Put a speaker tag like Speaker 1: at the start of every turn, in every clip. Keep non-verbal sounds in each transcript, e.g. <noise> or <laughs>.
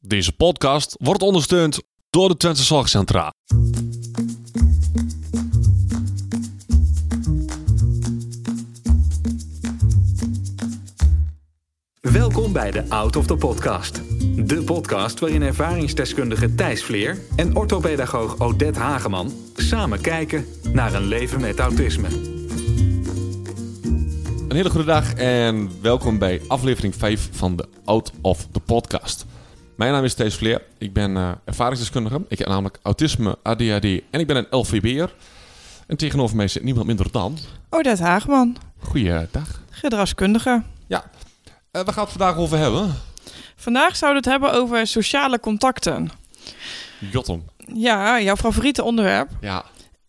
Speaker 1: Deze podcast wordt ondersteund door de Twente Zorgcentra.
Speaker 2: Welkom bij de Out of the Podcast. De podcast waarin ervaringsdeskundige Thijs Vleer en orthopedagoog Odette Hageman samen kijken naar een leven met autisme.
Speaker 1: Een hele goede dag en welkom bij aflevering 5 van de Out of the Podcast. Mijn naam is Thijs Vleer, ik ben eh, ervaringsdeskundige. Ik heb namelijk autisme, ADHD en ik ben een LVB'er. En tegenover mij zit niemand minder dan...
Speaker 3: Odette Haagman,
Speaker 1: Goeiedag.
Speaker 3: gedragskundige.
Speaker 1: Ja, Eh waar gaan we het vandaag over hebben?
Speaker 3: Vandaag zouden we het hebben over sociale contacten.
Speaker 1: Jotten.
Speaker 3: Ja, jouw favoriete onderwerp.
Speaker 1: Ja,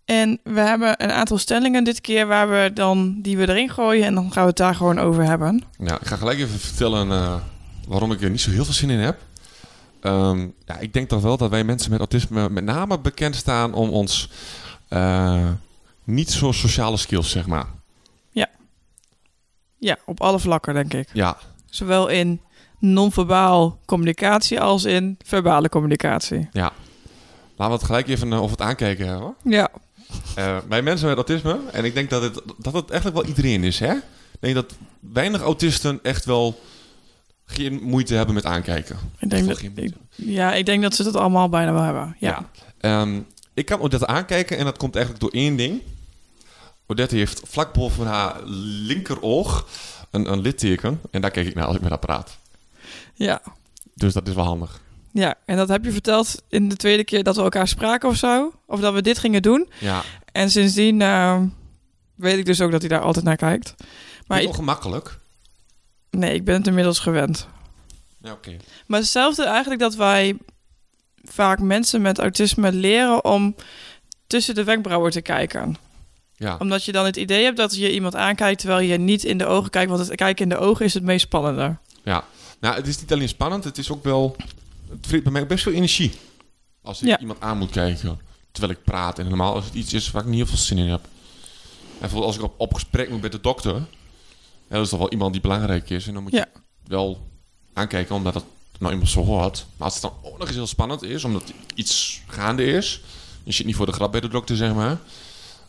Speaker 3: En we hebben een aantal stellingen dit keer waar we dan, die we erin gooien en dan gaan we het daar gewoon over hebben.
Speaker 1: Nou, ik ga gelijk even vertellen eh, waarom ik er niet zo heel veel zin in heb. Ehm, ja, ik denk toch wel dat wij mensen met autisme met name bekend staan om ons eh, niet zo sociale skills, zeg maar.
Speaker 3: Ja, op alle vlakken denk ik.
Speaker 1: Ja,
Speaker 3: Zowel in non-verbaal communicatie als in verbale communicatie.
Speaker 1: laten we het gelijk even eh, over het aankijken hebben.
Speaker 3: Ja,
Speaker 1: Eh, wij mensen met autisme, en ik denk dat het, dat het eigenlijk wel iedereen is, hè? Ik denk dat weinig autisten echt wel geen moeite hebben met aankijken.
Speaker 3: ik
Speaker 1: Echt
Speaker 3: denk
Speaker 1: wel
Speaker 3: dat,
Speaker 1: geen
Speaker 3: ik,
Speaker 1: moeite.
Speaker 3: ja, ik denk dat ze dat allemaal bijna wel hebben. Ja.
Speaker 1: Ja. Ehm, ik kan Odette aankijken en dat komt eigenlijk door één ding. Odette heeft vlak boven haar linkeroog een, een litteken. En daar kijk ik naar als ik met haar praat.
Speaker 3: ja,
Speaker 1: Dus dat is wel handig.
Speaker 3: ja. En dat heb je verteld in de tweede keer dat we elkaar spraken of zo. Of dat we dit gingen doen.
Speaker 1: Ja,
Speaker 3: En sindsdien eh, weet ik dus ook dat hij daar altijd naar kijkt. Maar
Speaker 1: maar
Speaker 3: ik,
Speaker 1: ongemakkelijk.
Speaker 3: nee, ik ben het inmiddels gewend.
Speaker 1: Ja, oké.
Speaker 3: Maar hetzelfde eigenlijk dat wij vaak mensen met autisme leren om tussen de wenkbrauwen te kijken.
Speaker 1: Ja.
Speaker 3: Omdat je dan het idee hebt dat je iemand aankijkt terwijl je niet in de ogen kijkt. Want het kijken in de ogen is het meest spannende.
Speaker 1: ja. Nou, het is niet alleen spannend, het is ook wel... Het vreet bij mij ook best veel energie. Als ik
Speaker 3: Ja.
Speaker 1: iemand aan moet kijken terwijl ik praat. En normaal als het iets is waar ik niet heel veel zin in heb. En bijvoorbeeld als ik op, op gesprek moet met de dokter. hè, dat is toch wel iemand die belangrijk is. En dan moet je
Speaker 3: Ja.
Speaker 1: wel aankijken, omdat het nou iemand zo hoort. Maar als het dan ook nog eens heel spannend is, omdat iets gaande is. Je zit niet voor de grap bij de dokter, zeg maar.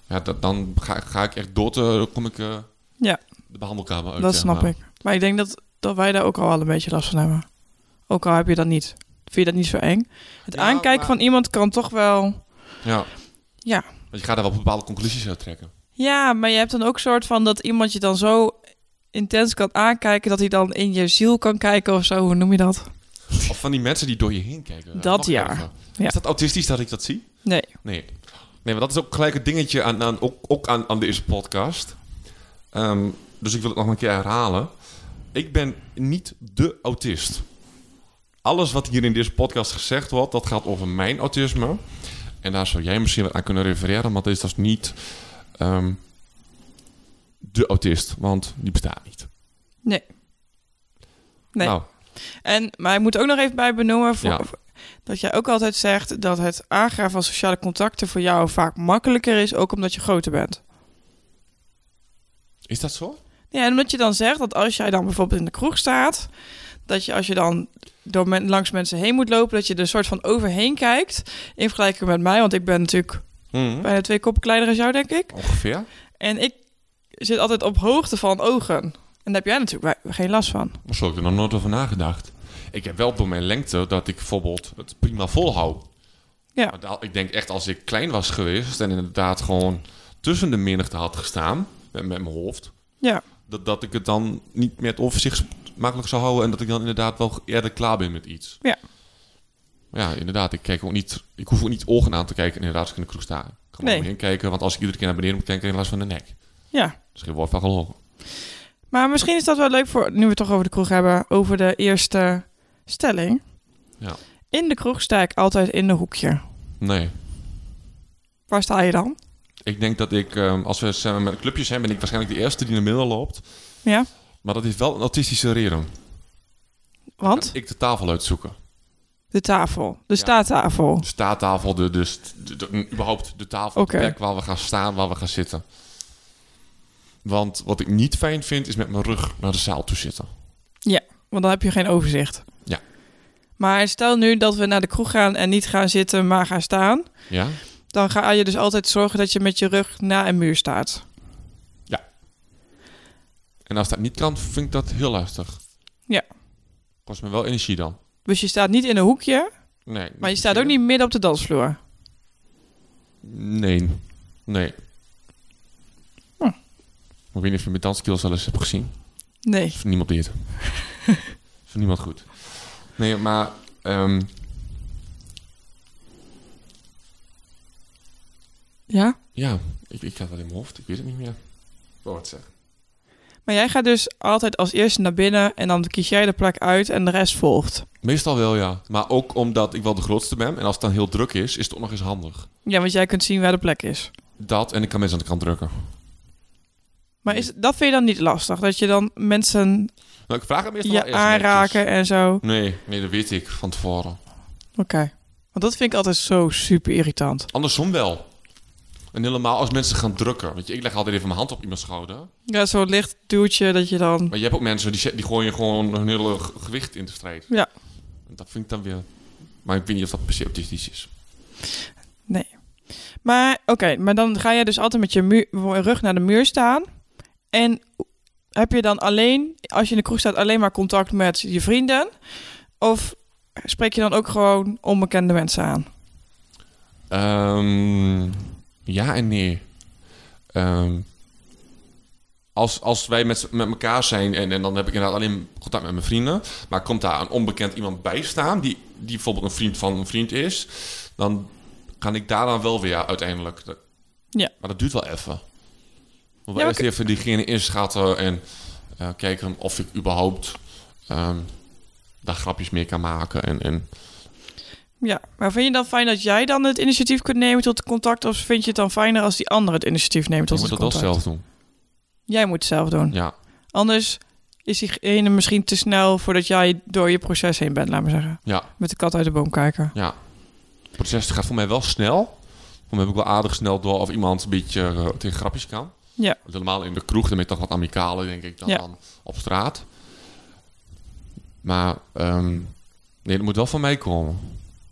Speaker 1: Ja, dat, dan ga, ga ik echt dood, eh, dan kom ik eh,
Speaker 3: Ja.
Speaker 1: de behandelkamer uit.
Speaker 3: dat
Speaker 1: zeg
Speaker 3: snap
Speaker 1: maar.
Speaker 3: ik. Maar ik denk dat, dat wij daar ook al wel een beetje last van hebben. Ook al heb je dat niet. Vind je dat niet zo eng? Het
Speaker 1: Ja,
Speaker 3: aankijken
Speaker 1: maar-
Speaker 3: van iemand kan toch wel...
Speaker 1: Ja.
Speaker 3: Ja.
Speaker 1: Want je gaat daar wel bepaalde conclusies uit trekken.
Speaker 3: Ja, maar je hebt dan ook soort van dat iemand je dan zo intens kan aankijken dat hij dan in je ziel kan kijken of zo. Hoe noem je dat?
Speaker 1: Of van die mensen die door je heen kijken.
Speaker 3: Dat
Speaker 1: Nog
Speaker 3: ja.
Speaker 1: erger.
Speaker 3: Ja.
Speaker 1: Is dat autistisch dat ik dat zie?
Speaker 3: Nee.
Speaker 1: Nee. Nee, maar dat is ook gelijk het dingetje aan, aan, ook, ook aan, aan deze podcast. Ehm, dus ik wil het nog een keer herhalen. Ik ben niet de autist. Alles wat hier in deze podcast gezegd wordt, dat gaat over mijn autisme. En daar zou jij misschien wat aan kunnen refereren, maar dat is dus niet ehm, de autist, want die bestaat niet.
Speaker 3: Nee. Nee.
Speaker 1: Nou,
Speaker 3: En, maar ik moet ook nog even bij benoemen voor,
Speaker 1: Ja.
Speaker 3: dat jij ook altijd zegt dat het aangaan van sociale contacten voor jou vaak makkelijker is, ook omdat je groter bent.
Speaker 1: is dat zo?
Speaker 3: Ja, en omdat je dan zegt dat als jij dan bijvoorbeeld in de kroeg staat, dat je als je dan door men- langs mensen heen moet lopen, dat je er soort van overheen kijkt in vergelijking met mij, want ik ben natuurlijk
Speaker 1: Mhm.
Speaker 3: bijna twee koppen kleiner dan jou, denk ik.
Speaker 1: Ongeveer.
Speaker 3: En ik zit altijd op hoogte van ogen. En daar heb jij natuurlijk wij- geen last van.
Speaker 1: Maar Zo heb ik er nog nooit over nagedacht. Ik heb wel door mijn lengte dat ik bijvoorbeeld het prima volhoud.
Speaker 3: Ja.
Speaker 1: Maar daar- ik denk echt als ik klein was geweest en inderdaad gewoon tussen de menigte had gestaan met, met mijn hoofd,
Speaker 3: Ja,
Speaker 1: dat, dat ik het dan niet met overzicht makkelijk zou houden en dat ik dan inderdaad wel eerder klaar ben met iets.
Speaker 3: Ja.
Speaker 1: Ja, inderdaad. Ik, kijk ook niet, ik hoef ook niet ogen aan te kijken inderdaad als ik in de kroeg sta. Ik kan
Speaker 3: Nee.
Speaker 1: nee. heen kijken, want als ik iedere keer naar beneden moet kijken, krijg ik last van de nek.
Speaker 3: ja.
Speaker 1: Dus geen woord van gelogen.
Speaker 3: Maar misschien is dat wel leuk voor, nu we het toch over de kroeg hebben, over de eerste stelling.
Speaker 1: Ja.
Speaker 3: In de kroeg sta ik altijd in een hoekje.
Speaker 1: Nee.
Speaker 3: Waar sta je dan?
Speaker 1: Ik denk dat ik, ehm, als we samen met clubjes zijn, ben ik waarschijnlijk de eerste die naar midden loopt.
Speaker 3: Ja,
Speaker 1: Maar dat heeft wel een autistische reden.
Speaker 3: want
Speaker 1: Ik de tafel uitzoeken.
Speaker 3: de tafel, de
Speaker 1: Ja.
Speaker 3: staattafel.
Speaker 1: De staattafel, de, de, st- de- de- überhaupt de tafel,
Speaker 3: Oké.
Speaker 1: de plek waar we gaan staan, waar we gaan zitten. Want wat ik niet fijn vind, is met mijn rug naar de zaal toe zitten.
Speaker 3: Want dan heb je geen overzicht.
Speaker 1: Ja.
Speaker 3: Maar stel nu dat we naar de kroeg gaan en niet gaan zitten, maar gaan staan.
Speaker 1: Ja?
Speaker 3: Dan ga je dus altijd zorgen dat je met je rug naar een muur staat.
Speaker 1: En als dat niet kan, vind ik dat heel lastig.
Speaker 3: Ja.
Speaker 1: Kost me wel energie dan.
Speaker 3: Dus je staat niet in een hoekje,
Speaker 1: Nee.
Speaker 3: maar je staat ook niet midden op de dansvloer.
Speaker 1: Nee. Nee.
Speaker 3: Hm.
Speaker 1: Ik weet niet of je mijn danskills wel eens hebt gezien.
Speaker 3: Nee.
Speaker 1: Is Van niemand <laughs> dit. Is Van niemand goed. Nee, maar... ehm,
Speaker 3: Ja?
Speaker 1: ja, ik, ik had dat in mijn hoofd. Ik weet het niet meer. Wou wat zeggen.
Speaker 3: Maar jij gaat dus altijd als eerste naar binnen en dan kies jij de plek uit en de rest volgt.
Speaker 1: Meestal wel, ja. Maar ook omdat ik wel de grootste ben. En als het dan heel druk is, is het ook nog eens handig.
Speaker 3: Ja, want jij kunt zien waar de plek is.
Speaker 1: Dat en ik kan mensen aan de kant drukken.
Speaker 3: Maar is, dat vind je dan niet lastig? Dat je dan mensen
Speaker 1: Nou, ik vraag het meestal wel
Speaker 3: je
Speaker 1: eerst netjes.
Speaker 3: aanraken en zo? Oké.
Speaker 1: Nee, nee, dat weet ik van tevoren.
Speaker 3: Want dat vind ik altijd zo super irritant.
Speaker 1: Andersom wel. En helemaal als mensen gaan drukken. Weet je, ik leg altijd even mijn hand op iemands schouder.
Speaker 3: Ja, zo'n licht duwtje dat je dan...
Speaker 1: Maar je hebt ook mensen die, zet- die gooien gewoon hun hele g- gewicht in de strijd.
Speaker 3: Ja.
Speaker 1: En dat vind ik dan weer... Maar ik weet niet of dat per se autistisch is.
Speaker 3: Maar oké, maar dan ga jij dus altijd met je muur- rug naar de muur staan. En heb je dan alleen, als je in de kroeg staat, alleen maar contact met je vrienden? Of spreek je dan ook gewoon onbekende mensen aan?
Speaker 1: Ehm, ja en nee. Ehm, als, als wij met, z'n- met elkaar zijn en, en dan heb ik inderdaad alleen contact met mijn vrienden. Maar komt daar een onbekend iemand bij staan, die, die bijvoorbeeld een vriend van een vriend is, dan kan ik daar dan wel weer uiteindelijk. Dat-
Speaker 3: Ja.
Speaker 1: Maar dat duurt wel even. Moet
Speaker 3: Ja,
Speaker 1: wel eerst even diegene inschatten en eh, kijken of ik überhaupt ehm, daar grapjes mee kan maken. En, en
Speaker 3: Ja, maar vind je dan fijn dat jij dan het initiatief kunt nemen tot contact? Of vind je het dan fijner als die ander het initiatief neemt
Speaker 1: je
Speaker 3: tot
Speaker 1: moet
Speaker 3: het
Speaker 1: dat wel
Speaker 3: contact?
Speaker 1: zelf doen.
Speaker 3: Jij moet het zelf doen.
Speaker 1: Ja.
Speaker 3: Anders is diegene misschien te snel voordat jij door je proces heen bent, laat maar zeggen.
Speaker 1: ja.
Speaker 3: Met de kat uit de boom kijken.
Speaker 1: Ja. Het proces gaat voor mij wel snel. Voor mij heb ik wel aardig snel door of iemand een beetje eh, tegen grapjes kan.
Speaker 3: Ja.
Speaker 1: Want Helemaal in de kroeg, dan ben je toch wat amicaler, denk ik, dan,
Speaker 3: Ja.
Speaker 1: dan op straat. Maar ehm, nee, dat moet wel van mij komen.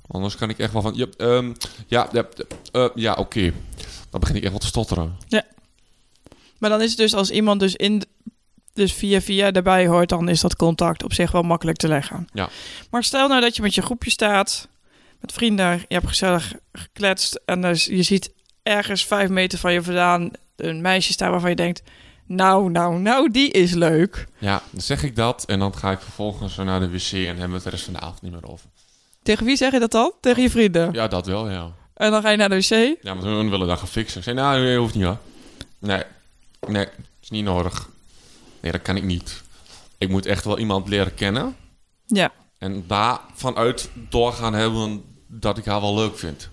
Speaker 1: Anders kan ik echt wel van... Ja, ehm, ja, ja, eh, ja oké. Dan begin ik echt wel te stotteren.
Speaker 3: Maar dan is het dus als iemand dus in dus via via daarbij hoort, dan is dat contact op zich wel makkelijk te leggen.
Speaker 1: Ja.
Speaker 3: Maar stel nou dat je met je groepje staat, met vrienden, je hebt gezellig gekletst en dus je ziet ergens vijf meter van je vandaan een meisje staan waarvan je denkt, nou, nou, nou, die is leuk.
Speaker 1: Ja, dan zeg ik dat en dan ga ik vervolgens naar de wc en hebben we het de rest van de avond niet meer over.
Speaker 3: Tegen wie zeg je dat dan? Tegen je vrienden.
Speaker 1: Ja, dat wel, ja.
Speaker 3: En dan ga je naar de wc.
Speaker 1: Ja, maar hun willen dat gaan fixen. Ik zei, nou, nee, hoeft niet hoor. Nee, nee, is niet nodig. Nee, dat kan ik niet. Ik moet echt wel iemand leren kennen.
Speaker 3: Ja.
Speaker 1: En daar vanuit doorgaan hebben dat ik haar wel leuk vind.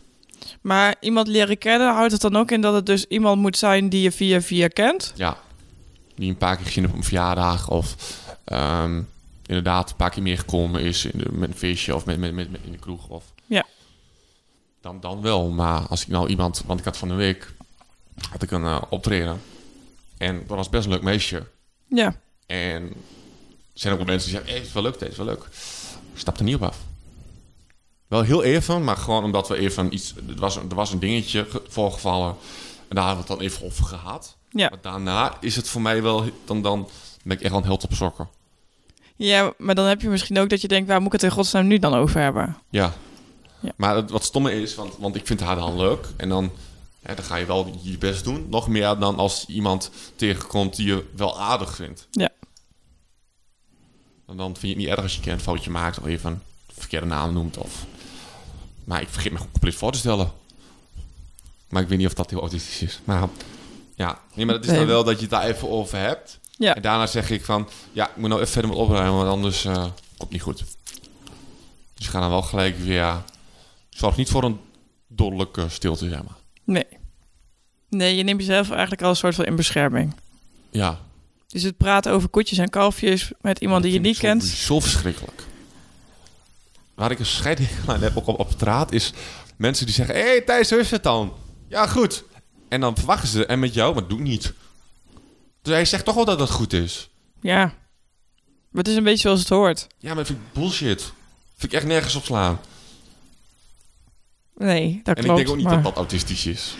Speaker 3: Maar iemand leren kennen houdt het dan ook in dat het dus iemand moet zijn die je via via kent.
Speaker 1: Ja, die een paar keer gezien op een verjaardag. Of ehm, inderdaad een paar keer meer gekomen is in de- met een feestje of met, met, met, met- in de kroeg. Of...
Speaker 3: Ja.
Speaker 1: Dan, dan wel, maar als ik nou iemand... Want ik had van de week had ik een eh, optreden. En dat was best een leuk meisje.
Speaker 3: Ja.
Speaker 1: En er zijn ook wel mensen die zeggen, hey, het is wel leuk, dit is wel leuk. Ik stap er niet op af. Wel heel even, maar gewoon omdat we even iets... Er was, er was een dingetje ge- voorgevallen en daar hebben we het dan even over gehad.
Speaker 3: Ja.
Speaker 1: Maar daarna is het voor mij wel... Dan, dan ben ik echt wel een held op sokken.
Speaker 3: Ja, maar dan heb je misschien ook dat je denkt, waar moet ik het in godsnaam nu dan over hebben?
Speaker 1: Ja.
Speaker 3: Ja.
Speaker 1: Maar het, wat stomme is, want, want ik vind haar dan leuk. En dan, hè, dan ga je wel je best doen. Nog meer dan als je iemand tegenkomt die je wel aardig vindt.
Speaker 3: Ja.
Speaker 1: En dan vind je het niet erg als je een keer een foutje maakt of even een verkeerde naam noemt. Of... Maar ik vergeet me gewoon compleet voor te stellen. Maar ik weet niet of dat heel autistisch is. Maar ja, nee, maar dat is
Speaker 3: Nee.
Speaker 1: dan wel dat je het daar even over hebt.
Speaker 3: Ja.
Speaker 1: En daarna zeg ik van, ja, ik moet nou even verder met opruimen, want anders eh, komt het niet goed. Dus ga dan wel gelijk weer... Zorg niet voor een dodelijke stilte, zeg maar.
Speaker 3: Nee. Nee, je neemt jezelf eigenlijk al een soort van in bescherming.
Speaker 1: Ja.
Speaker 3: Dus het praten over koetjes en kalfjes met iemand die je
Speaker 1: Dat
Speaker 3: niet
Speaker 1: vind ik
Speaker 3: kent.
Speaker 1: Zo verschrikkelijk. Waar ik een scheiding aan heb, ook op, op straat, is mensen die zeggen... Hé, hey, Thijs, hoe is het dan? Ja, goed. En dan verwachten ze, en met jou, maar doe niet. Dus hij zegt toch wel dat dat goed is.
Speaker 3: Ja. Maar het is een beetje zoals het hoort.
Speaker 1: Ja, maar dat vind ik bullshit. Vind ik echt nergens op slaan.
Speaker 3: Nee, dat
Speaker 1: En
Speaker 3: klopt.
Speaker 1: ik denk ook niet
Speaker 3: maar-
Speaker 1: dat dat autistisch is.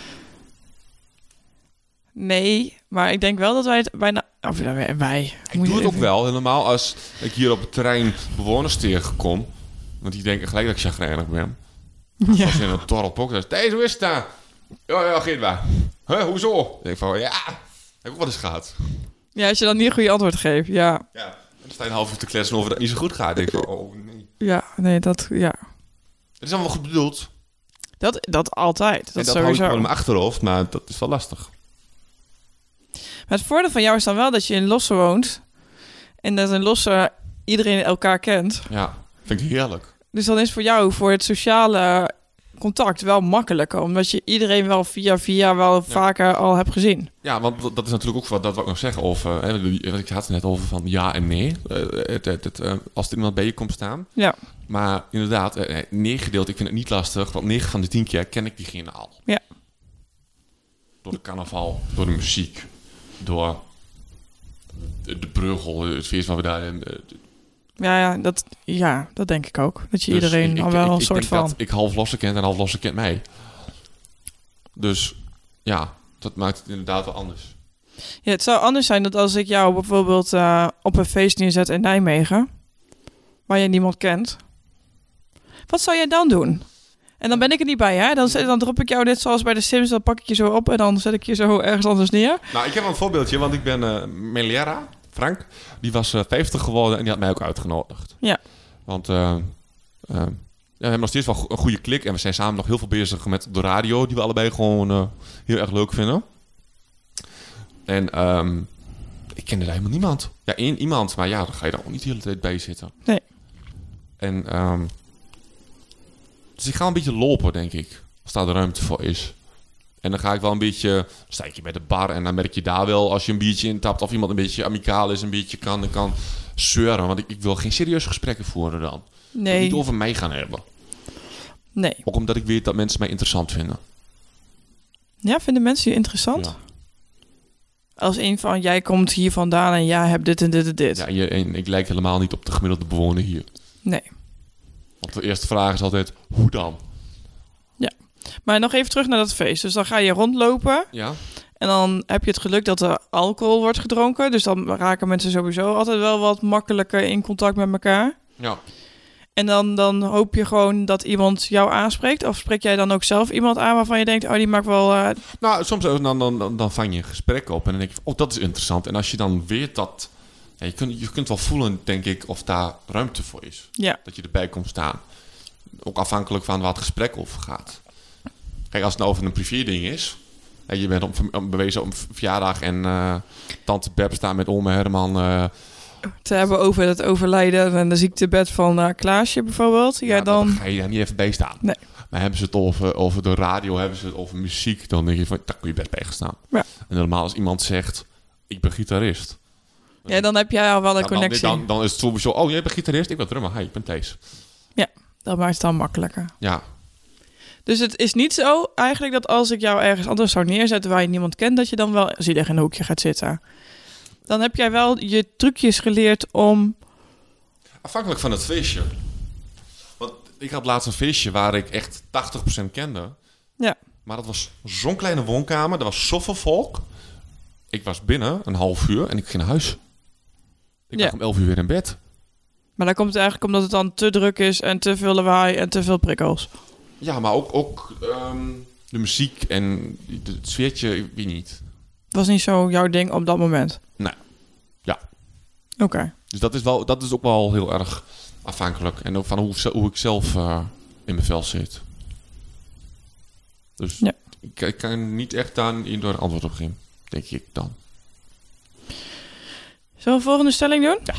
Speaker 3: Nee, maar ik denk wel dat wij het bijna... Of ja, wij... wij.
Speaker 1: Ik doe het ook wel, helemaal als ik hier op het terrein bewoners tegenkom. Want die denken gelijk dat ik chagrijnig ben.
Speaker 3: Ja.
Speaker 1: Als je in een dorp ook zegt, hey, zo is het daar. Ja, ja, geen waar. Huh, hoezo? Ik denk van, ja, heb ik ook wel eens gehad.
Speaker 3: ja, als je dan niet een goede antwoord geeft. Ja,
Speaker 1: Ja. En dan sta je een half uur te kletsen over dat het niet zo goed gaat. Ik denk van, oh nee.
Speaker 3: ja nee, dat... Ja.
Speaker 1: Het is allemaal goed bedoeld.
Speaker 3: Dat, dat altijd.
Speaker 1: en dat
Speaker 3: Dat,
Speaker 1: hou ik
Speaker 3: sowieso.
Speaker 1: gewoon in mijn achterhoofd, maar dat is wel lastig.
Speaker 3: Maar het voordeel van jou is dan wel dat je in Lossen woont. En dat in Lossen iedereen elkaar kent.
Speaker 1: Ja, vind ik heerlijk.
Speaker 3: Dus dan is voor jou, voor het sociale contact wel makkelijker. Omdat je iedereen wel via via wel vaker al hebt gezien.
Speaker 1: Ja, want dat- dat is natuurlijk ook wat dat wil ik nog zeggen over... Hè, die- want ik had het net over van ja en nee. Eh, het, het, het, eh, als er iemand bij je komt staan.
Speaker 3: Ja.
Speaker 1: Maar inderdaad, eh, eh, neergedeeld, ik vind het niet lastig. Want 9 van de 10 keer ken ik diegene al.
Speaker 3: Ja.
Speaker 1: Door de carnaval, door de muziek, door de, de bruggel, het feest waar we daar... in, eh,
Speaker 3: Ja, ja, dat, ja, dat denk ik ook. Dat je
Speaker 1: Dus
Speaker 3: iedereen
Speaker 1: ik-
Speaker 3: al
Speaker 1: ik-
Speaker 3: wel
Speaker 1: ik-
Speaker 3: een
Speaker 1: ik
Speaker 3: soort
Speaker 1: denk
Speaker 3: van...
Speaker 1: Dat ik half losse kent en half losse kent mij. Dus ja, dat maakt het inderdaad wel anders.
Speaker 3: Ja, het zou anders zijn dat als ik jou bijvoorbeeld eh, op een feest neerzet in Nijmegen. Waar je niemand kent. Wat zou jij dan doen? En dan ben ik er niet bij, hè? Dan, zet- dan drop ik jou net zoals bij de Sims. Dan pak ik je zo op en dan zet ik je zo ergens anders neer.
Speaker 1: Nou, ik heb een voorbeeldje, want ik ben eh Melera, Frank. Die was eh 50 geworden en die had mij ook uitgenodigd.
Speaker 3: Ja.
Speaker 1: Want eh, eh, ja, we hebben nog steeds wel go- een goede klik. En we zijn samen nog heel veel bezig met de radio, die we allebei gewoon eh, heel erg leuk vinden. En ehm, ik kende daar helemaal niemand. Ja, één iemand, maar ja, dan ga je daar ook niet de hele tijd bij zitten.
Speaker 3: Nee.
Speaker 1: En ehm, dus ik ga een beetje lopen, denk ik. Als daar de ruimte voor is. En dan ga ik wel een beetje... sta ik hier bij de bar en dan merk je daar wel... als je een biertje intapt of iemand een beetje amicaal is... een beetje kan en kan zeuren. Want ik, ik wil geen serieuze gesprekken voeren dan. Niet
Speaker 3: Nee,
Speaker 1: over mij gaan hebben.
Speaker 3: nee.
Speaker 1: Ook omdat ik weet dat mensen mij interessant vinden.
Speaker 3: Ja, vinden mensen je interessant?
Speaker 1: Ja.
Speaker 3: Als een van, jij komt hier vandaan en jij hebt dit en dit en dit.
Speaker 1: Ja, en, je- en ik lijk helemaal niet op de gemiddelde bewoner hier.
Speaker 3: Nee.
Speaker 1: Want de eerste vraag is altijd... Hoe dan?
Speaker 3: Maar nog even terug naar dat feest. Dus dan ga je rondlopen
Speaker 1: Ja?
Speaker 3: en dan heb je het geluk dat er alcohol wordt gedronken. Dus dan raken mensen sowieso altijd wel wat makkelijker in contact met elkaar.
Speaker 1: Ja.
Speaker 3: En dan, dan hoop je gewoon dat iemand jou aanspreekt. Of spreek jij dan ook zelf iemand aan waarvan je denkt, oh die maakt wel... eh,
Speaker 1: Nou, soms dan, dan, dan, dan vang je een gesprek op en dan denk je, van, oh, dat is interessant. En als je dan weet dat... ja, je, kunt, je kunt wel voelen, denk ik, of daar ruimte voor is.
Speaker 3: ja,
Speaker 1: Dat je erbij komt staan. Ook afhankelijk van waar het gesprek over gaat. Kijk, als het nou over een privé ding is... En je bent op, op- bewezen op een verjaardag en eh, tante Beb staat met oma Herman... eh,
Speaker 3: te hebben over het overlijden en de ziektebed van eh, Klaasje bijvoorbeeld. Ja, dan...
Speaker 1: nou, ga je daar niet even bij staan.
Speaker 3: Nee.
Speaker 1: Maar hebben ze het over, over de radio, hebben ze het over muziek... dan denk je van, daar kun je best bij gaan staan.
Speaker 3: Ja.
Speaker 1: En normaal als iemand zegt, ik ben gitarist...
Speaker 3: Ja, dan heb jij al wel een
Speaker 1: Ja,
Speaker 3: connectie.
Speaker 1: Nou, Dan, dan, dan is het sowieso, oh, jij bent gitarist, ik ben drummer. Hi, ik ben Thijs.
Speaker 3: Dat maakt het dan makkelijker.
Speaker 1: Ja,
Speaker 3: Dus het is niet zo eigenlijk dat als ik jou ergens anders zou neerzetten waar je niemand kent, dat je dan wel zielig in een hoekje gaat zitten. Dan heb jij wel je trucjes geleerd om.
Speaker 1: afhankelijk van het feestje. Want ik had laatst een feestje waar ik echt 80% kende.
Speaker 3: Ja.
Speaker 1: Maar dat was zo'n kleine woonkamer, er was zoveel volk. Ik was binnen een half uur en ik ging naar huis. Ik
Speaker 3: Ja.
Speaker 1: lag om 11 uur weer in bed.
Speaker 3: Maar dan komt het eigenlijk omdat het dan te druk is en te veel lawaai en te veel prikkels.
Speaker 1: Ja, maar ook, ook ehm, de muziek en het sfeertje, ik weet niet.
Speaker 3: Het was niet zo jouw ding op dat moment.
Speaker 1: Nee. Ja.
Speaker 3: Oké.
Speaker 1: Dus dat is, wel, dat is ook wel heel erg afhankelijk. En ook van hoe, ze- hoe ik zelf eh, in mijn vel zit. Dus
Speaker 3: Ja.
Speaker 1: ik, ik kan niet echt daar een door antwoord op geven. Denk ik dan.
Speaker 3: Zullen we een volgende stelling doen? Ja.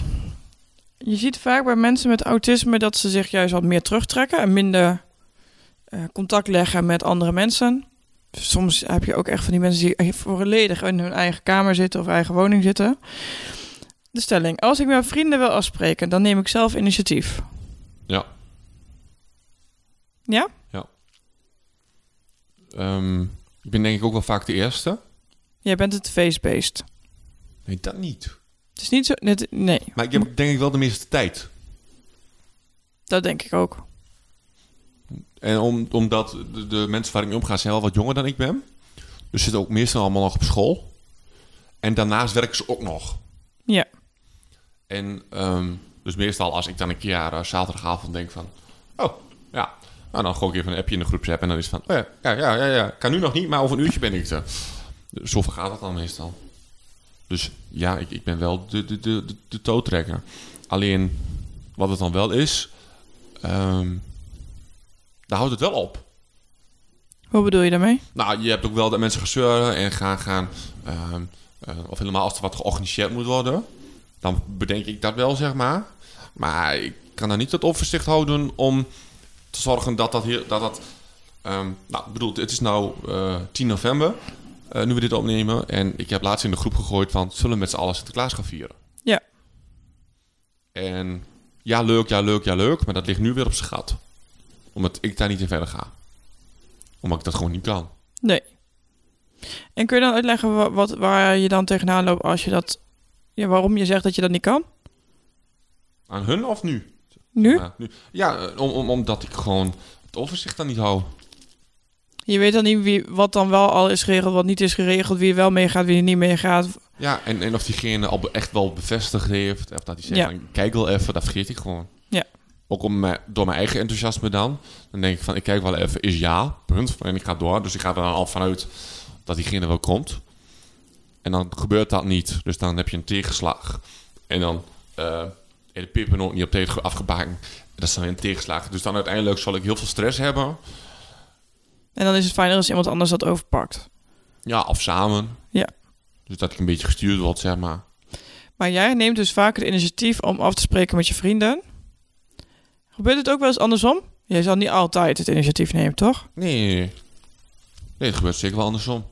Speaker 3: Je ziet vaak bij mensen met autisme dat ze zich juist wat meer terugtrekken en minder eh, contact leggen met andere mensen. Soms heb je ook echt van die mensen die volledig in hun eigen kamer zitten of eigen woning zitten. De stelling: Als ik mijn vrienden wil afspreken, dan neem ik zelf initiatief.
Speaker 1: Ja.
Speaker 3: Ja?
Speaker 1: Ehm, ik ben denk ik ook wel vaak de eerste.
Speaker 3: Jij bent het feestbeest.
Speaker 1: Nee, dat niet.
Speaker 3: Het is niet zo. net- nee.
Speaker 1: Maar ik heb denk ik wel de meeste tijd.
Speaker 3: Dat denk ik ook.
Speaker 1: En om, omdat de, de mensen waar ik mee omga zijn wel wat jonger dan ik ben. Dus zitten ook meestal allemaal nog op school. En daarnaast werken ze ook nog.
Speaker 3: Ja.
Speaker 1: En ehm, dus meestal als ik dan een keer eh, zaterdagavond denk van... Oh, ja. Nou, dan gooi ik even een appje in de groepsapp en dan is het van... Oh ja, ja, ja, ja, ja. Kan nu nog niet, maar over een uurtje ben ik er. Dus Zo vergaat dat dan meestal. Dus ja, ik, ik ben wel de, de, de, de, de toetrekker. Alleen, wat het dan wel is... ehm, daar houdt het wel op.
Speaker 3: Hoe bedoel je daarmee?
Speaker 1: Nou, je hebt ook wel dat mensen gaan zeuren en gaan... gaan ehm, eh, of helemaal als er wat georganiseerd moet worden. Dan bedenk ik dat wel, zeg maar. Maar ik kan daar niet het overzicht houden om te zorgen dat dat... Hier, dat, dat ehm, nou, ik bedoel, het is nu 10 november, eh, nu we dit opnemen. En ik heb laatst in de groep gegooid van... Zullen we met z'n allen Sinterklaas gaan vieren?
Speaker 3: Ja.
Speaker 1: En ja, leuk, ja, leuk, ja, leuk. Maar dat ligt nu weer op zijn gat. Omdat ik daar niet in verder ga. Omdat ik dat gewoon niet kan.
Speaker 3: Nee. En kun je dan uitleggen wa- wat, waar je dan tegenaan loopt als je dat... Ja, waarom je zegt dat je dat niet kan?
Speaker 1: Aan hun of nu?
Speaker 3: Nu?
Speaker 1: Ja, nu. ja eh, om, om, omdat ik gewoon het overzicht dan niet hou.
Speaker 3: Je weet dan niet wie, wat dan wel al is geregeld, wat niet is geregeld. Wie er wel meegaat, wie er niet meegaat.
Speaker 1: Ja, en, en of diegene al be- echt wel bevestigd heeft. Of dat hij zegt,
Speaker 3: Ja.
Speaker 1: van, kijk wel even, dat vergeet ik gewoon.
Speaker 3: Ja.
Speaker 1: Ook om mijn, door mijn eigen enthousiasme dan. Dan denk ik van, ik kijk wel even, is ja, punt. En ik ga door. Dus ik ga er dan al vanuit dat diegene wel komt. En dan gebeurt dat niet. Dus dan heb je een tegenslag. En dan eh en de pippen ook niet op tijd afgebakken. Dat is dan weer een tegenslag. Dus dan uiteindelijk zal ik heel veel stress hebben.
Speaker 3: En dan is het fijner als iemand anders dat overpakt.
Speaker 1: Ja, of samen.
Speaker 3: Ja.
Speaker 1: Dus dat ik een beetje gestuurd word, zeg maar.
Speaker 3: Maar jij neemt dus vaak het initiatief om af te spreken met je vrienden. Gebeurt het ook wel eens andersom? Jij zal niet altijd het initiatief nemen, toch?
Speaker 1: Nee, nee, nee. Nee, het gebeurt zeker wel andersom.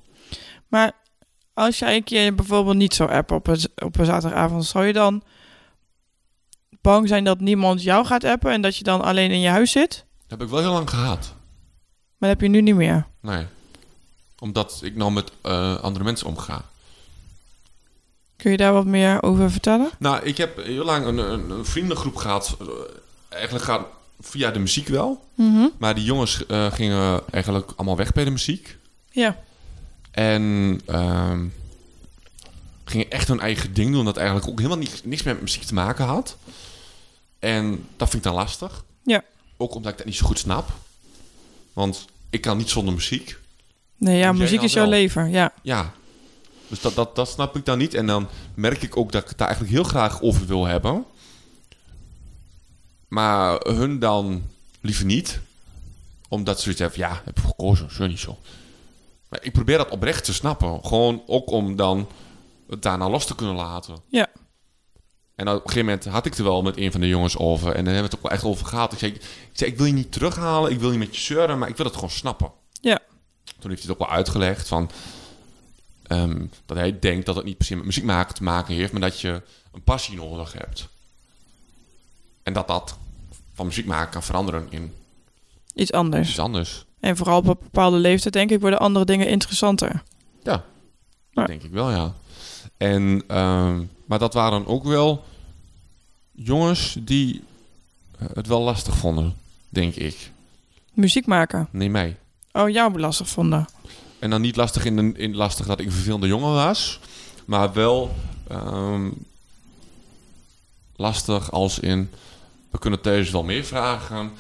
Speaker 3: Maar als jij een keer bijvoorbeeld niet zou appen op een, z- op een zaterdagavond, zou je dan bang zijn dat niemand jou gaat appen en dat je dan alleen in je huis zit?
Speaker 1: Dat heb ik wel heel lang gehad.
Speaker 3: Maar dat heb je nu niet meer.
Speaker 1: Nee. Omdat ik nou met eh, andere mensen omga.
Speaker 3: Kun je daar wat meer over vertellen?
Speaker 1: Nou, ik heb heel lang een, een, een vriendengroep gehad. eh, Eigenlijk gaat via de muziek wel. Maar die jongens eh, gingen eigenlijk allemaal weg bij de muziek.
Speaker 3: Ja.
Speaker 1: En ehm, gingen echt hun eigen ding doen. Dat eigenlijk ook helemaal niks, niks meer met muziek te maken had. En dat vind ik dan lastig.
Speaker 3: Ja.
Speaker 1: Ook omdat ik dat niet zo goed snap. Want ik kan niet zonder muziek.
Speaker 3: Nee, ja,
Speaker 1: Jij
Speaker 3: muziek
Speaker 1: dan
Speaker 3: is jouw
Speaker 1: wel.
Speaker 3: leven. Ja.
Speaker 1: Ja. Dus dat, dat, dat snap ik dan niet. En dan merk ik ook dat ik het daar eigenlijk heel graag over wil hebben. Maar hun dan liever niet. Omdat ze zoiets hebben van, ja, heb ik gekozen, zo niet zo. Maar ik probeer dat oprecht te snappen. Gewoon ook om dan het daarna los te kunnen laten.
Speaker 3: Ja.
Speaker 1: En op een gegeven moment had ik er wel met een van de jongens over. En dan hebben we het ook wel echt over gehad. Ik zei, ik, ik zei, ik wil je niet terughalen. Ik wil niet met je zeuren. Maar ik wil het gewoon snappen.
Speaker 3: Ja.
Speaker 1: Toen heeft hij het ook wel uitgelegd van... ehm, dat hij denkt dat het niet per se met muziek maken te maken heeft... maar dat je een passie nodig hebt. En dat dat van muziek maken kan veranderen in
Speaker 3: Iets anders.
Speaker 1: iets anders.
Speaker 3: En vooral op een bepaalde leeftijd, denk ik, worden andere dingen interessanter.
Speaker 1: Ja,
Speaker 3: Ja.
Speaker 1: dat denk ik wel, ja. En, ehm, maar dat waren ook wel jongens die eh, het wel lastig vonden, denk ik.
Speaker 3: Muziek maken.
Speaker 1: Nee, mij.
Speaker 3: Oh, jou lastig vonden.
Speaker 1: En dan niet lastig, in, de- in lastig dat ik een vervelende jongen was. Maar wel ehm, lastig als in... We kunnen thuis wel meer vragen.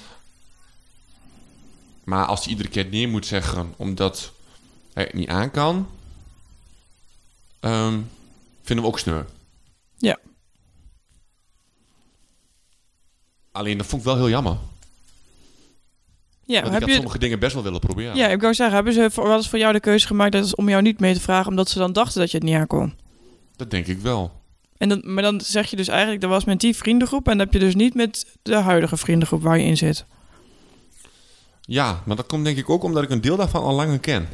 Speaker 1: Maar als hij iedere keer neer moet zeggen... omdat hij het niet aan kan... ehm, vinden we ook sneu.
Speaker 3: Ja.
Speaker 1: Alleen dat vond ik wel heel jammer.
Speaker 3: Ja,
Speaker 1: want ik
Speaker 3: heb
Speaker 1: had
Speaker 3: je...
Speaker 1: sommige dingen best wel willen proberen.
Speaker 3: Ja, ik wou zeggen, hebben ze voor, wel eens voor jou de keuze gemaakt dat is om jou niet mee te vragen, omdat ze dan dachten dat je het niet aankon?
Speaker 1: Dat denk ik wel.
Speaker 3: En dan, maar dan zeg je dus eigenlijk, dat was met die vriendengroep en dat heb je dus niet met de huidige vriendengroep waar je in zit.
Speaker 1: Ja, maar dat komt denk ik ook omdat ik een deel daarvan al langer ken.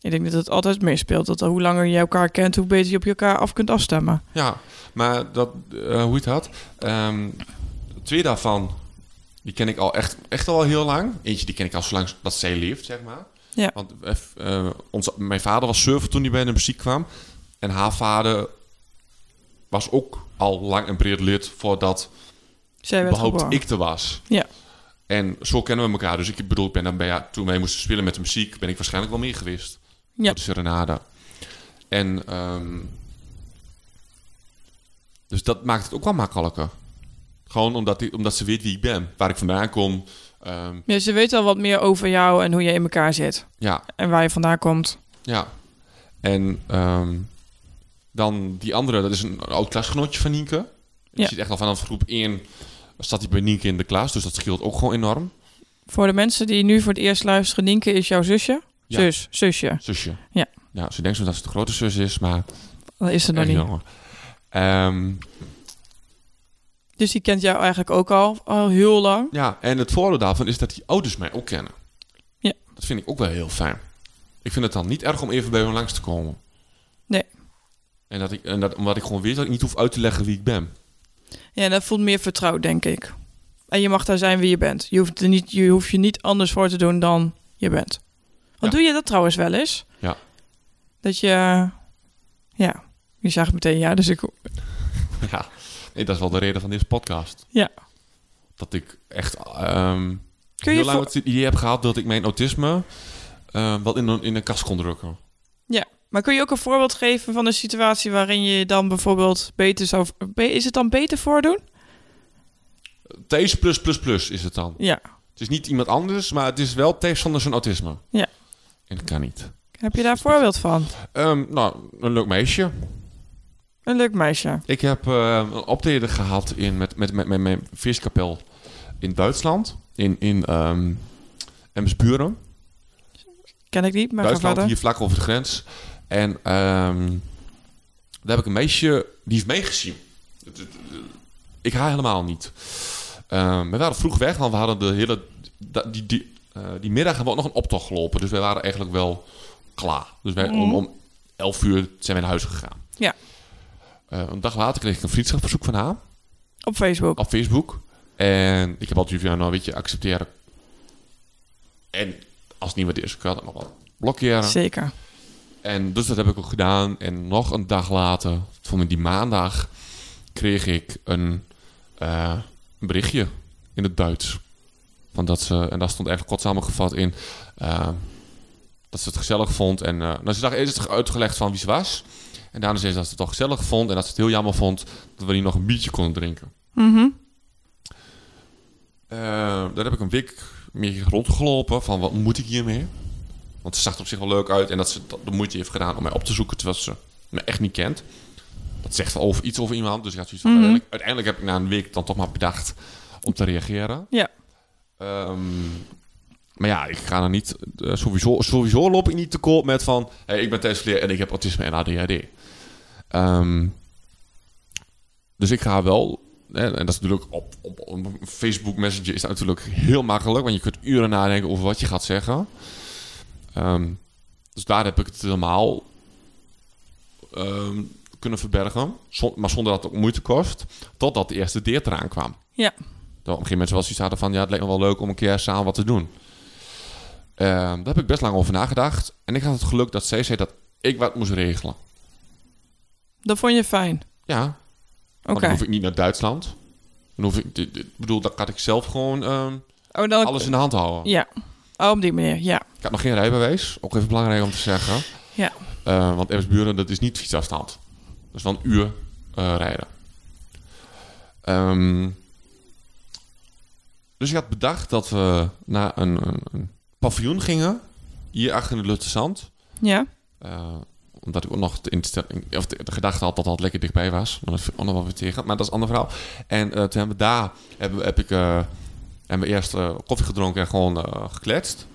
Speaker 3: Ik denk dat het altijd meespeelt, dat hoe langer je elkaar kent, hoe beter je op elkaar af kunt afstemmen.
Speaker 1: Ja, maar dat, eh, hoe het had. ehm, twee daarvan, die ken ik al echt, echt al heel lang. Eentje die ken ik al zolang dat zij leeft, zeg maar.
Speaker 3: Ja.
Speaker 1: Want eh, f- eh, onze, mijn vader was surfer toen hij bij de muziek kwam. En haar vader was ook al lang en breed lid voordat
Speaker 3: Zij werd
Speaker 1: überhaupt
Speaker 3: geboren.
Speaker 1: ik er was.
Speaker 3: Ja.
Speaker 1: En zo kennen we elkaar. Dus ik bedoel, ik ben dan bij haar, toen wij moesten spelen met de muziek, ben ik waarschijnlijk wel meer gewist.
Speaker 3: Ja.
Speaker 1: Voor de serenade. En, ehm, dus dat maakt het ook wel makkelijker. Gewoon omdat, ik, omdat ze weet wie ik ben, waar ik vandaan kom. Ehm,
Speaker 3: ja, ze weet al wat meer over jou en hoe je in elkaar zit.
Speaker 1: ja,
Speaker 3: En waar je vandaan komt.
Speaker 1: ja. En ehm, dan die andere, dat is een oud klasgenootje van Nienke. Je
Speaker 3: Ja.
Speaker 1: ziet echt al vanaf groep 1 staat hij bij Nienke in de klas. Dus dat scheelt ook gewoon enorm.
Speaker 3: Voor de mensen die nu voor het eerst luisteren, Nienke is jouw zusje.
Speaker 1: Ja.
Speaker 3: Zus, zusje.
Speaker 1: Zusje.
Speaker 3: Ja.
Speaker 1: Ja, ze denkt zo dat ze de grote zus is, maar
Speaker 3: Dat is ze nog
Speaker 1: echt
Speaker 3: niet.
Speaker 1: jonger. Ehm,
Speaker 3: Dus die kent jou eigenlijk ook al, al heel lang.
Speaker 1: ja, en het voordeel daarvan is dat die ouders mij ook kennen.
Speaker 3: Ja.
Speaker 1: Dat vind ik ook wel heel fijn. Ik vind het dan niet erg om even bij hun langs te komen.
Speaker 3: Nee.
Speaker 1: En, dat ik, en dat, omdat ik gewoon weet dat ik niet hoef uit te leggen wie ik ben. <laughs>
Speaker 3: Ja, dat voelt meer vertrouwd, denk ik. En je mag daar zijn wie je bent. Je hoeft, er niet, je, hoeft je niet anders voor te doen dan je bent. Want
Speaker 1: Ja.
Speaker 3: doe je dat trouwens wel eens?
Speaker 1: Ja.
Speaker 3: Dat je... Ja, je zag meteen ja, dus ik...
Speaker 1: Ja, nee, dat is wel de reden van deze podcast.
Speaker 3: Ja.
Speaker 1: Dat ik echt ehm
Speaker 3: Kun je
Speaker 1: heel lang
Speaker 3: voor-
Speaker 1: het idee heb gehad dat ik mijn autisme ehm wel in een, in een kast kon drukken.
Speaker 3: Maar kun je ook een voorbeeld geven van een situatie waarin je je dan bijvoorbeeld beter zou... be- Is het dan beter voordoen?
Speaker 1: Thijs plus plus plus is het dan.
Speaker 3: Ja.
Speaker 1: Het is niet iemand anders, maar het is wel Thijs zonder zijn autisme.
Speaker 3: Ja.
Speaker 1: En dat kan niet.
Speaker 3: Heb je daar een voorbeeld van?
Speaker 1: Ehm, nou, een leuk meisje.
Speaker 3: Een leuk meisje.
Speaker 1: Ik heb ehm, een optreden gehad in, met, met, met, met mijn viskapel in Duitsland. In, in ehm Emsburen.
Speaker 3: Ken ik niet, maar ga
Speaker 1: Duitsland,
Speaker 3: verder.
Speaker 1: hier vlak over de grens. En ehm, daar heb ik een meisje, die heeft meegezien. Het- het- het- Ik haar helemaal niet. Ehm, we waren vroeg weg, want we hadden de hele... da- Die, die, eh, die middag hebben we ook nog een optocht gelopen. Dus wij waren eigenlijk wel klaar. Dus wij, om, om 11 uur zijn wij naar huis gegaan.
Speaker 3: Mhm. Ja.
Speaker 1: Eh, een dag later kreeg ik een vriendschapsverzoek van haar
Speaker 3: Op Facebook.
Speaker 1: op Facebook. En ik heb altijd van, ja, nou weet je, accepteren. En als het niet wat is, kan je dat nog wel blokkeren.
Speaker 3: Zeker.
Speaker 1: En dus dat heb ik ook gedaan. En nog een dag later, voor me die maandag, kreeg ik een, eh, een berichtje in het Duits. Van dat ze, en daar stond eigenlijk kort samengevat in eh, dat ze het gezellig vond. En eh, nou, ze zag eerst uitgelegd van wie ze was. En daarna zei ze dat ze het wel gezellig vond. En dat ze het heel jammer vond dat we hier nog een biertje konden drinken.
Speaker 3: Mhm.
Speaker 1: Eh, daar heb ik een week mee rondgelopen van wat moet ik hiermee? Want ze zag er op zich wel leuk uit en dat ze dat de moeite heeft gedaan om mij op te zoeken terwijl ze me echt niet kent. Dat zegt wel over, iets over iemand, dus ik had zoiets van,
Speaker 3: Mhm.
Speaker 1: uiteindelijk, uiteindelijk heb ik na een week dan toch maar bedacht om te reageren.
Speaker 3: Ja.
Speaker 1: Ehm, maar ja, ik ga er niet, eh, sowieso, sowieso loop ik niet te koop met van, hey, ik ben Thijs Vleer en ik heb autisme en ADHD. Ehm, dus ik ga wel Hè, En dat is natuurlijk op, op, op een Facebook Messenger is dat natuurlijk heel makkelijk, want je kunt uren nadenken over wat je gaat zeggen. Ehm, dus daar heb ik het helemaal ehm, kunnen verbergen, zon- maar zonder dat het ook moeite kost, totdat de eerste date eraan kwam.
Speaker 3: Ja.
Speaker 1: Dan op een gegeven moment was iets hadden van, ja, het lijkt me wel leuk om een keer samen wat te doen. Ehm, daar heb ik best lang over nagedacht. En ik had het geluk dat zij zei dat ik wat moest regelen.
Speaker 3: Dat vond je fijn.
Speaker 1: Ja,
Speaker 3: Oké.
Speaker 1: Oh, dan hoef ik niet naar Duitsland. Dan hoef ik, ik bedoel, dan kan ik zelf gewoon ehm,
Speaker 3: Oh, dan...
Speaker 1: alles in de hand houden.
Speaker 3: Ja. Oh, op die manier, ja.
Speaker 1: Ik had nog geen rijbewijs. Ook even belangrijk om te zeggen.
Speaker 3: Ja.
Speaker 1: Eh, want Ebbsburen, dat is niet fietsafstand. Dat is wel een uur eh, rijden. Ehm, dus ik had bedacht dat we naar een, een, een paviljoen gingen. Hier achter in het Lutte Zand.
Speaker 3: Ja.
Speaker 1: Eh, omdat ik ook nog de, instelling, of de, de gedachte had dat dat lekker dichtbij was. Maar dat viel ook nog wel weer tegen. Maar dat is een ander verhaal. En eh, toen hebben we daar hebben, we- heb ik, eh, hebben we eerst eh, koffie gedronken en gewoon eh, gekletst.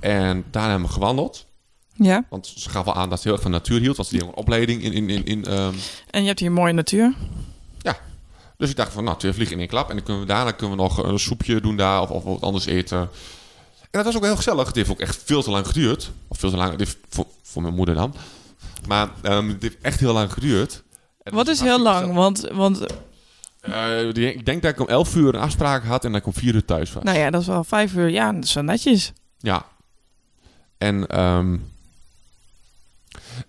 Speaker 1: En daarna hebben we gewandeld.
Speaker 3: Ja.
Speaker 1: Want ze gaf wel aan dat ze heel erg van natuur hield. Want ze deed ook een opleiding in... in, in, in ehm,
Speaker 3: En je hebt hier mooie natuur.
Speaker 1: dus ik dacht van, nou, twee vliegen in één klap. En dan kunnen we daarna kunnen we nog een soepje doen daar of, of wat anders eten. En dat was ook heel gezellig. Het heeft ook echt veel te lang geduurd. Of veel te lang, het heeft voor, voor mijn moeder dan. Maar ehm, het heeft echt heel lang geduurd. En
Speaker 3: Wat
Speaker 1: dat
Speaker 3: is heel lang,
Speaker 1: hartstikke
Speaker 3: want, want
Speaker 1: gezellig. Eh, die- ik denk dat ik om 11 uur een afspraak had en dat ik om 4 uur thuis was.
Speaker 3: nou ja, dat is wel vijf uur. Ja, dat is wel netjes.
Speaker 1: Ja. En ehm,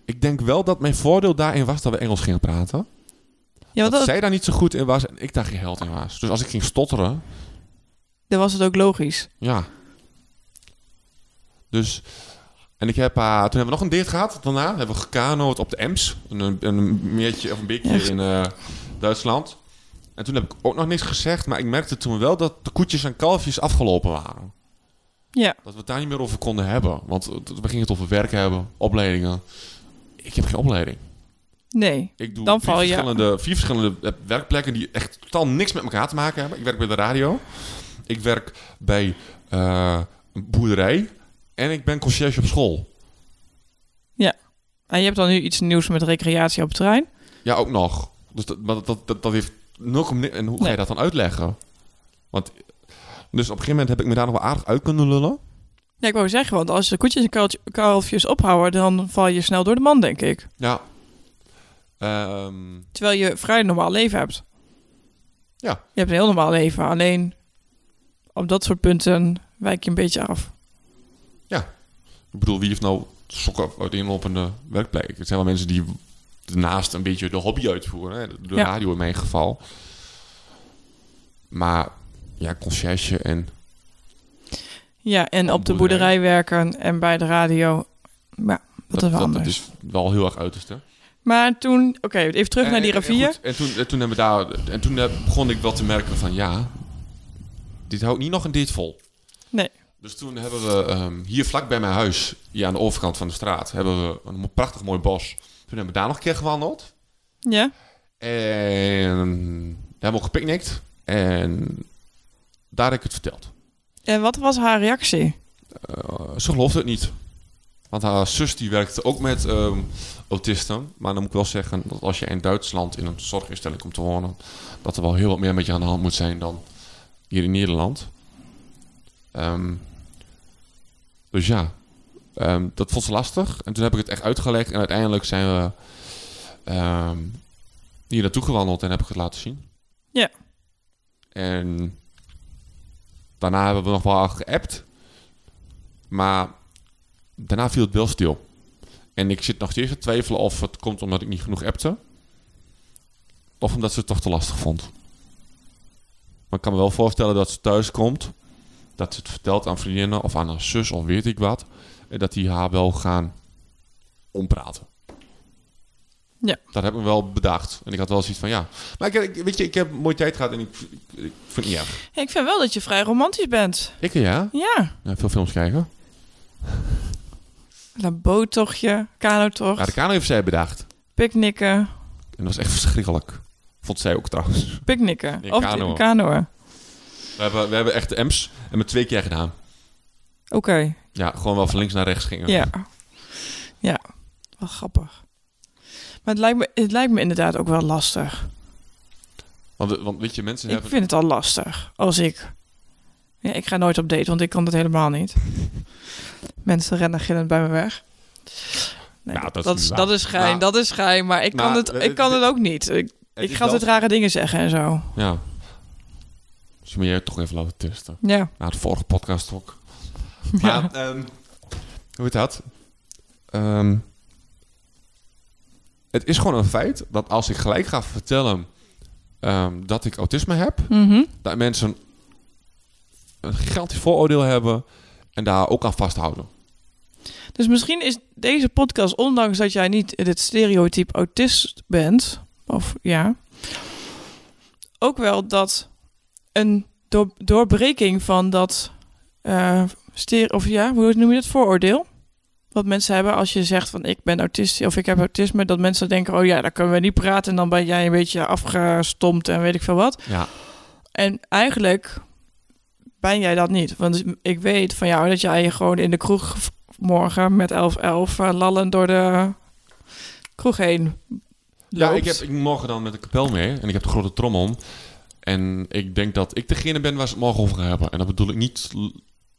Speaker 1: ik denk wel dat mijn voordeel daarin was dat we Engels gingen praten.
Speaker 3: Ja, want
Speaker 1: dat
Speaker 3: dat,
Speaker 1: zij daar niet zo goed in was en ik daar geen held in was. Dus als ik ging stotteren,
Speaker 3: dan was het ook logisch.
Speaker 1: ja. Dus, en ik heb, haar- toen hebben we nog een date gehad daarna. Hebben we gekanoot op de Ems, een, een meertje of een beekje
Speaker 3: Echt?
Speaker 1: in eh, Duitsland. En toen heb ik ook nog niks gezegd, maar ik merkte toen wel dat de koetjes en kalfjes afgelopen waren.
Speaker 3: Ja,
Speaker 1: Dat we het daar niet meer over konden hebben. Want eh, we gingen het over werk hebben, opleidingen. Ik heb geen opleiding.
Speaker 3: nee.
Speaker 1: Ik doe
Speaker 3: Dan
Speaker 1: vier,
Speaker 3: val je-
Speaker 1: verschillende, vier verschillende eh, werkplekken die echt totaal niks met elkaar te maken hebben. Ik werk bij de radio. Ik werk bij eh, een boerderij. En ik ben conciërge op school.
Speaker 3: En je hebt dan nu iets nieuws met recreatie op het terrein.
Speaker 1: Ja, ook nog. Dus dat, maar dat, dat, dat heeft nul kom- En hoe ga
Speaker 3: Nee.
Speaker 1: je dat dan uitleggen? Want, dus op een gegeven moment heb ik me daar nog wel aardig uit kunnen lullen.
Speaker 3: Ja, ik wou zeggen, want als de koetjes en kuiltje- kalfjes ophouden, dan val je snel door de man, denk ik.
Speaker 1: Ja. Ehm,
Speaker 3: Terwijl je vrij normaal leven hebt.
Speaker 1: Ja.
Speaker 3: Je hebt een heel normaal leven, alleen op dat soort punten wijk je een beetje af.
Speaker 1: Ik bedoel, wie heeft nou sokken uiteenlopende werkplek? Het zijn wel mensen die daarnaast een beetje de hobby uitvoeren. Hè? De de
Speaker 3: Ja.
Speaker 1: radio in mijn geval. Maar ja, conciërge en...
Speaker 3: Ja, en op de
Speaker 1: boerderij.
Speaker 3: boerderij werken en bij de radio. Ja, dat, is wel anders.
Speaker 1: is wel heel erg uiterste.
Speaker 3: Maar toen, oké, even terug naar die
Speaker 1: En- en- en
Speaker 3: rivier.
Speaker 1: Eh, goed, En, toen, en toen hebben we daar... En toen eh, begon ik wel te merken van ja... Dit houdt niet nog een dit vol.
Speaker 3: Nee.
Speaker 1: Dus toen hebben we ehm, hier vlak bij mijn huis, hier aan de overkant van de straat, hebben we een mo- prachtig mooi bos. Toen hebben we daar nog een keer gewandeld.
Speaker 3: Ja,
Speaker 1: En daar hebben we gepicnicked. En daar heb ik het verteld.
Speaker 3: en wat was haar reactie?
Speaker 1: Eh, ze geloofde het niet. Want haar zus die werkte ook met ehm, autisten. Maar dan moet ik wel zeggen dat als je in Duitsland in een zorginstelling komt te wonen... dat er wel heel wat meer met je aan de hand moet zijn dan hier in Nederland. Ehm, dus ja, ehm, dat vond ze lastig. En toen heb ik het echt uitgelegd. En uiteindelijk zijn we ehm, hier naartoe gewandeld en heb ik het laten zien.
Speaker 3: Ja.
Speaker 1: En daarna hebben we nog wel geappt. Maar daarna viel het wel stil. En ik zit nog steeds te twijfelen of het komt omdat ik niet genoeg appte. Of omdat ze het toch te lastig vond. Maar ik kan me wel voorstellen dat ze thuis komt. Dat ze het vertelt aan vriendinnen of aan haar zus of weet ik wat. En dat die haar wel gaan ompraten.
Speaker 3: Ja.
Speaker 1: Dat heb ik me wel bedacht. En ik had wel zoiets van ja. Maar ik, ik- weet je, ik heb een mooie tijd gehad en ik, ik, ik vind het niet erg.
Speaker 3: Hey, ik vind wel dat je vrij romantisch bent.
Speaker 1: Ik ja.
Speaker 3: Ja,
Speaker 1: ja veel films kijken.
Speaker 3: een boottochtje, kanotocht,
Speaker 1: Ja, de kano heeft zij bedacht.
Speaker 3: picknicken,
Speaker 1: En dat was echt verschrikkelijk. Vond zij ook trouwens.
Speaker 3: picknicken.
Speaker 1: Nee,
Speaker 3: of
Speaker 1: kanoën.
Speaker 3: kanoën. Kanoën.
Speaker 1: We hebben, we hebben echt de M's en met twee keer gedaan.
Speaker 3: Oké,
Speaker 1: Ja, gewoon wel van links naar rechts gingen.
Speaker 3: ja. Ja, wel grappig. Maar het lijkt me, het lijkt me inderdaad ook wel lastig.
Speaker 1: Want, eh, want weet je, mensen
Speaker 3: Ik
Speaker 1: hebben...
Speaker 3: vind het al lastig als ik... Ja, ik ga nooit op date, want ik kan dat helemaal niet. Mensen rennen gillend bij me weg. Nee,
Speaker 1: Nou, dat is
Speaker 3: dat,
Speaker 1: niet
Speaker 3: is,
Speaker 1: waar.
Speaker 3: dat is gein,
Speaker 1: Maar-
Speaker 3: dat is gein. Maar ik kan,
Speaker 1: maar,
Speaker 3: het,
Speaker 1: eh,
Speaker 3: ik kan
Speaker 1: dit-
Speaker 3: het ook niet. Ik,
Speaker 1: Het
Speaker 3: ik
Speaker 1: is
Speaker 3: ga altijd
Speaker 1: wel-
Speaker 3: rare dingen zeggen en zo.
Speaker 1: Ja. Dus moet je toch even laten testen.
Speaker 3: Ja,
Speaker 1: Na de vorige podcast ook.
Speaker 3: Ja.
Speaker 1: Maar, ehm, hoe heet dat? Ehm, het is gewoon een feit dat als ik gelijk ga vertellen ehm, dat ik autisme heb,
Speaker 3: Mhm.
Speaker 1: dat mensen een gigantisch vooroordeel hebben en daar ook aan vasthouden.
Speaker 3: Dus misschien is deze podcast, ondanks dat jij niet het stereotype autist bent, of ja, ook wel dat een door- doorbreking van dat eh stere- of ja, hoe noem je dat vooroordeel? Wat mensen hebben als je zegt van ik ben autist of ik heb autisme, dat mensen denken oh ja, daar kunnen we niet praten en dan ben jij een beetje afgestompt en weet ik veel wat.
Speaker 1: Ja.
Speaker 3: En eigenlijk ben jij dat niet. Want ik weet van jou dat jij gewoon in de kroeg v- morgen met 11.11 eh, lallend door de kroeg heen
Speaker 1: Ja,
Speaker 3: loopt.
Speaker 1: ik, heb, ik moet morgen dan met de kapel mee en ik heb de grote trom om. En ik denk dat ik degene ben waar ze het morgen over gaan hebben. En dat bedoel ik niet... l-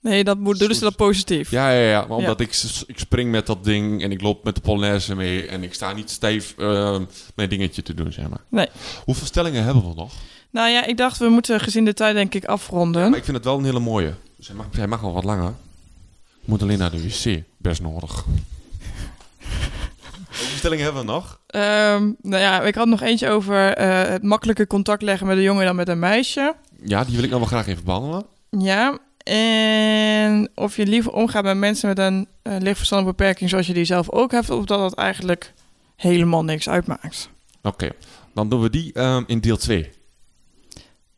Speaker 3: Nee, dat moet, doen ze dat positief.
Speaker 1: Ja, ja, ja. Maar omdat Ik, s- ik spring met dat ding en ik loop met de polonaise mee. En ik sta niet stijf eh, mijn dingetje te doen, zeg maar.
Speaker 3: Nee.
Speaker 1: Hoeveel stellingen hebben we nog?
Speaker 3: Nou ja, ik dacht, we moeten gezien de tijd denk ik afronden.
Speaker 1: Maar ik vind het wel een hele mooie. Dus hij mag, hij mag wel wat langer. Ik moet alleen naar de wc. Best nodig. Hoeveel stellingen hebben we nog?
Speaker 3: Ehm, nou ja, ik had nog eentje over eh, het makkelijker contact leggen met een jongen dan met een meisje.
Speaker 1: Ja, die wil ik nog wel graag even behandelen.
Speaker 3: Ja. En of je liever omgaat met mensen met een eh lichtverstandelijke beperking zoals je die zelf ook hebt, of dat dat eigenlijk helemaal niks uitmaakt.
Speaker 1: Oké, dan doen we die ehm, in deel 2.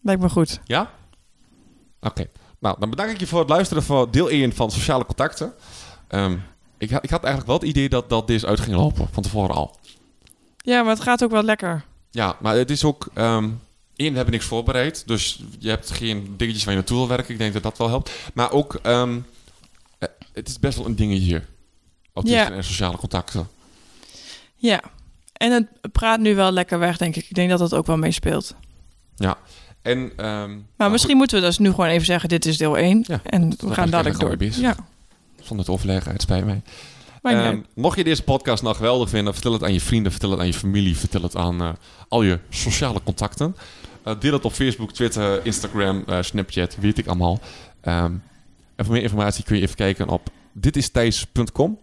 Speaker 3: Lijkt me goed.
Speaker 1: Ja? Oké. Nou, dan bedank ik je voor het luisteren van deel 1 van Sociale Contacten. Ehm, ik, ha- ik had eigenlijk wel het idee dat, dat deze uit ging lopen, van tevoren al.
Speaker 3: Ja, maar het gaat ook wel lekker.
Speaker 1: Ja, maar het is ook... ehm één, we hebben niks voorbereid. Dus je hebt geen dingetjes waar je naartoe wil werken. Ik denk dat dat wel helpt. Maar ook, ehm, eh, het is best wel een dingetje. Autisme
Speaker 3: Ja.
Speaker 1: en sociale contacten.
Speaker 3: Ja. En het praat nu wel lekker weg, denk ik. Ik denk dat dat ook wel meespeelt.
Speaker 1: En, ehm, nou,
Speaker 3: Maar misschien moeten we dus nu gewoon even zeggen, dit is deel 1.
Speaker 1: Ja,
Speaker 3: en we
Speaker 1: ik
Speaker 3: gaan dadelijk
Speaker 1: eigenlijk
Speaker 3: door.
Speaker 1: al mee bezig.
Speaker 3: Ja,
Speaker 1: goed, Zonder het overleggen, het spijt mij.
Speaker 3: maar niet
Speaker 1: Ehm,
Speaker 3: uit.
Speaker 1: mocht je deze podcast nou geweldig vinden, vertel het aan je vrienden, vertel het aan je familie, vertel het aan eh, al je sociale contacten. Eh, deel het op Facebook, Twitter, Instagram, eh, Snapchat, weet ik allemaal. Ehm, en voor meer informatie kun je even kijken op ditistthijs.com.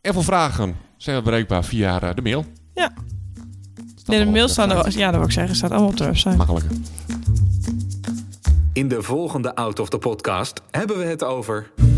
Speaker 1: En voor vragen zijn we bereikbaar via eh, de mail.
Speaker 3: Ja.
Speaker 1: Staat
Speaker 3: Nee, de
Speaker 1: allemaal
Speaker 3: mail
Speaker 1: op
Speaker 3: staan er...
Speaker 1: website.
Speaker 3: Ja, dat wil ik zeggen. staat allemaal op de website.
Speaker 1: Makkelijker.
Speaker 2: In de volgende Out of the Podcast hebben we het over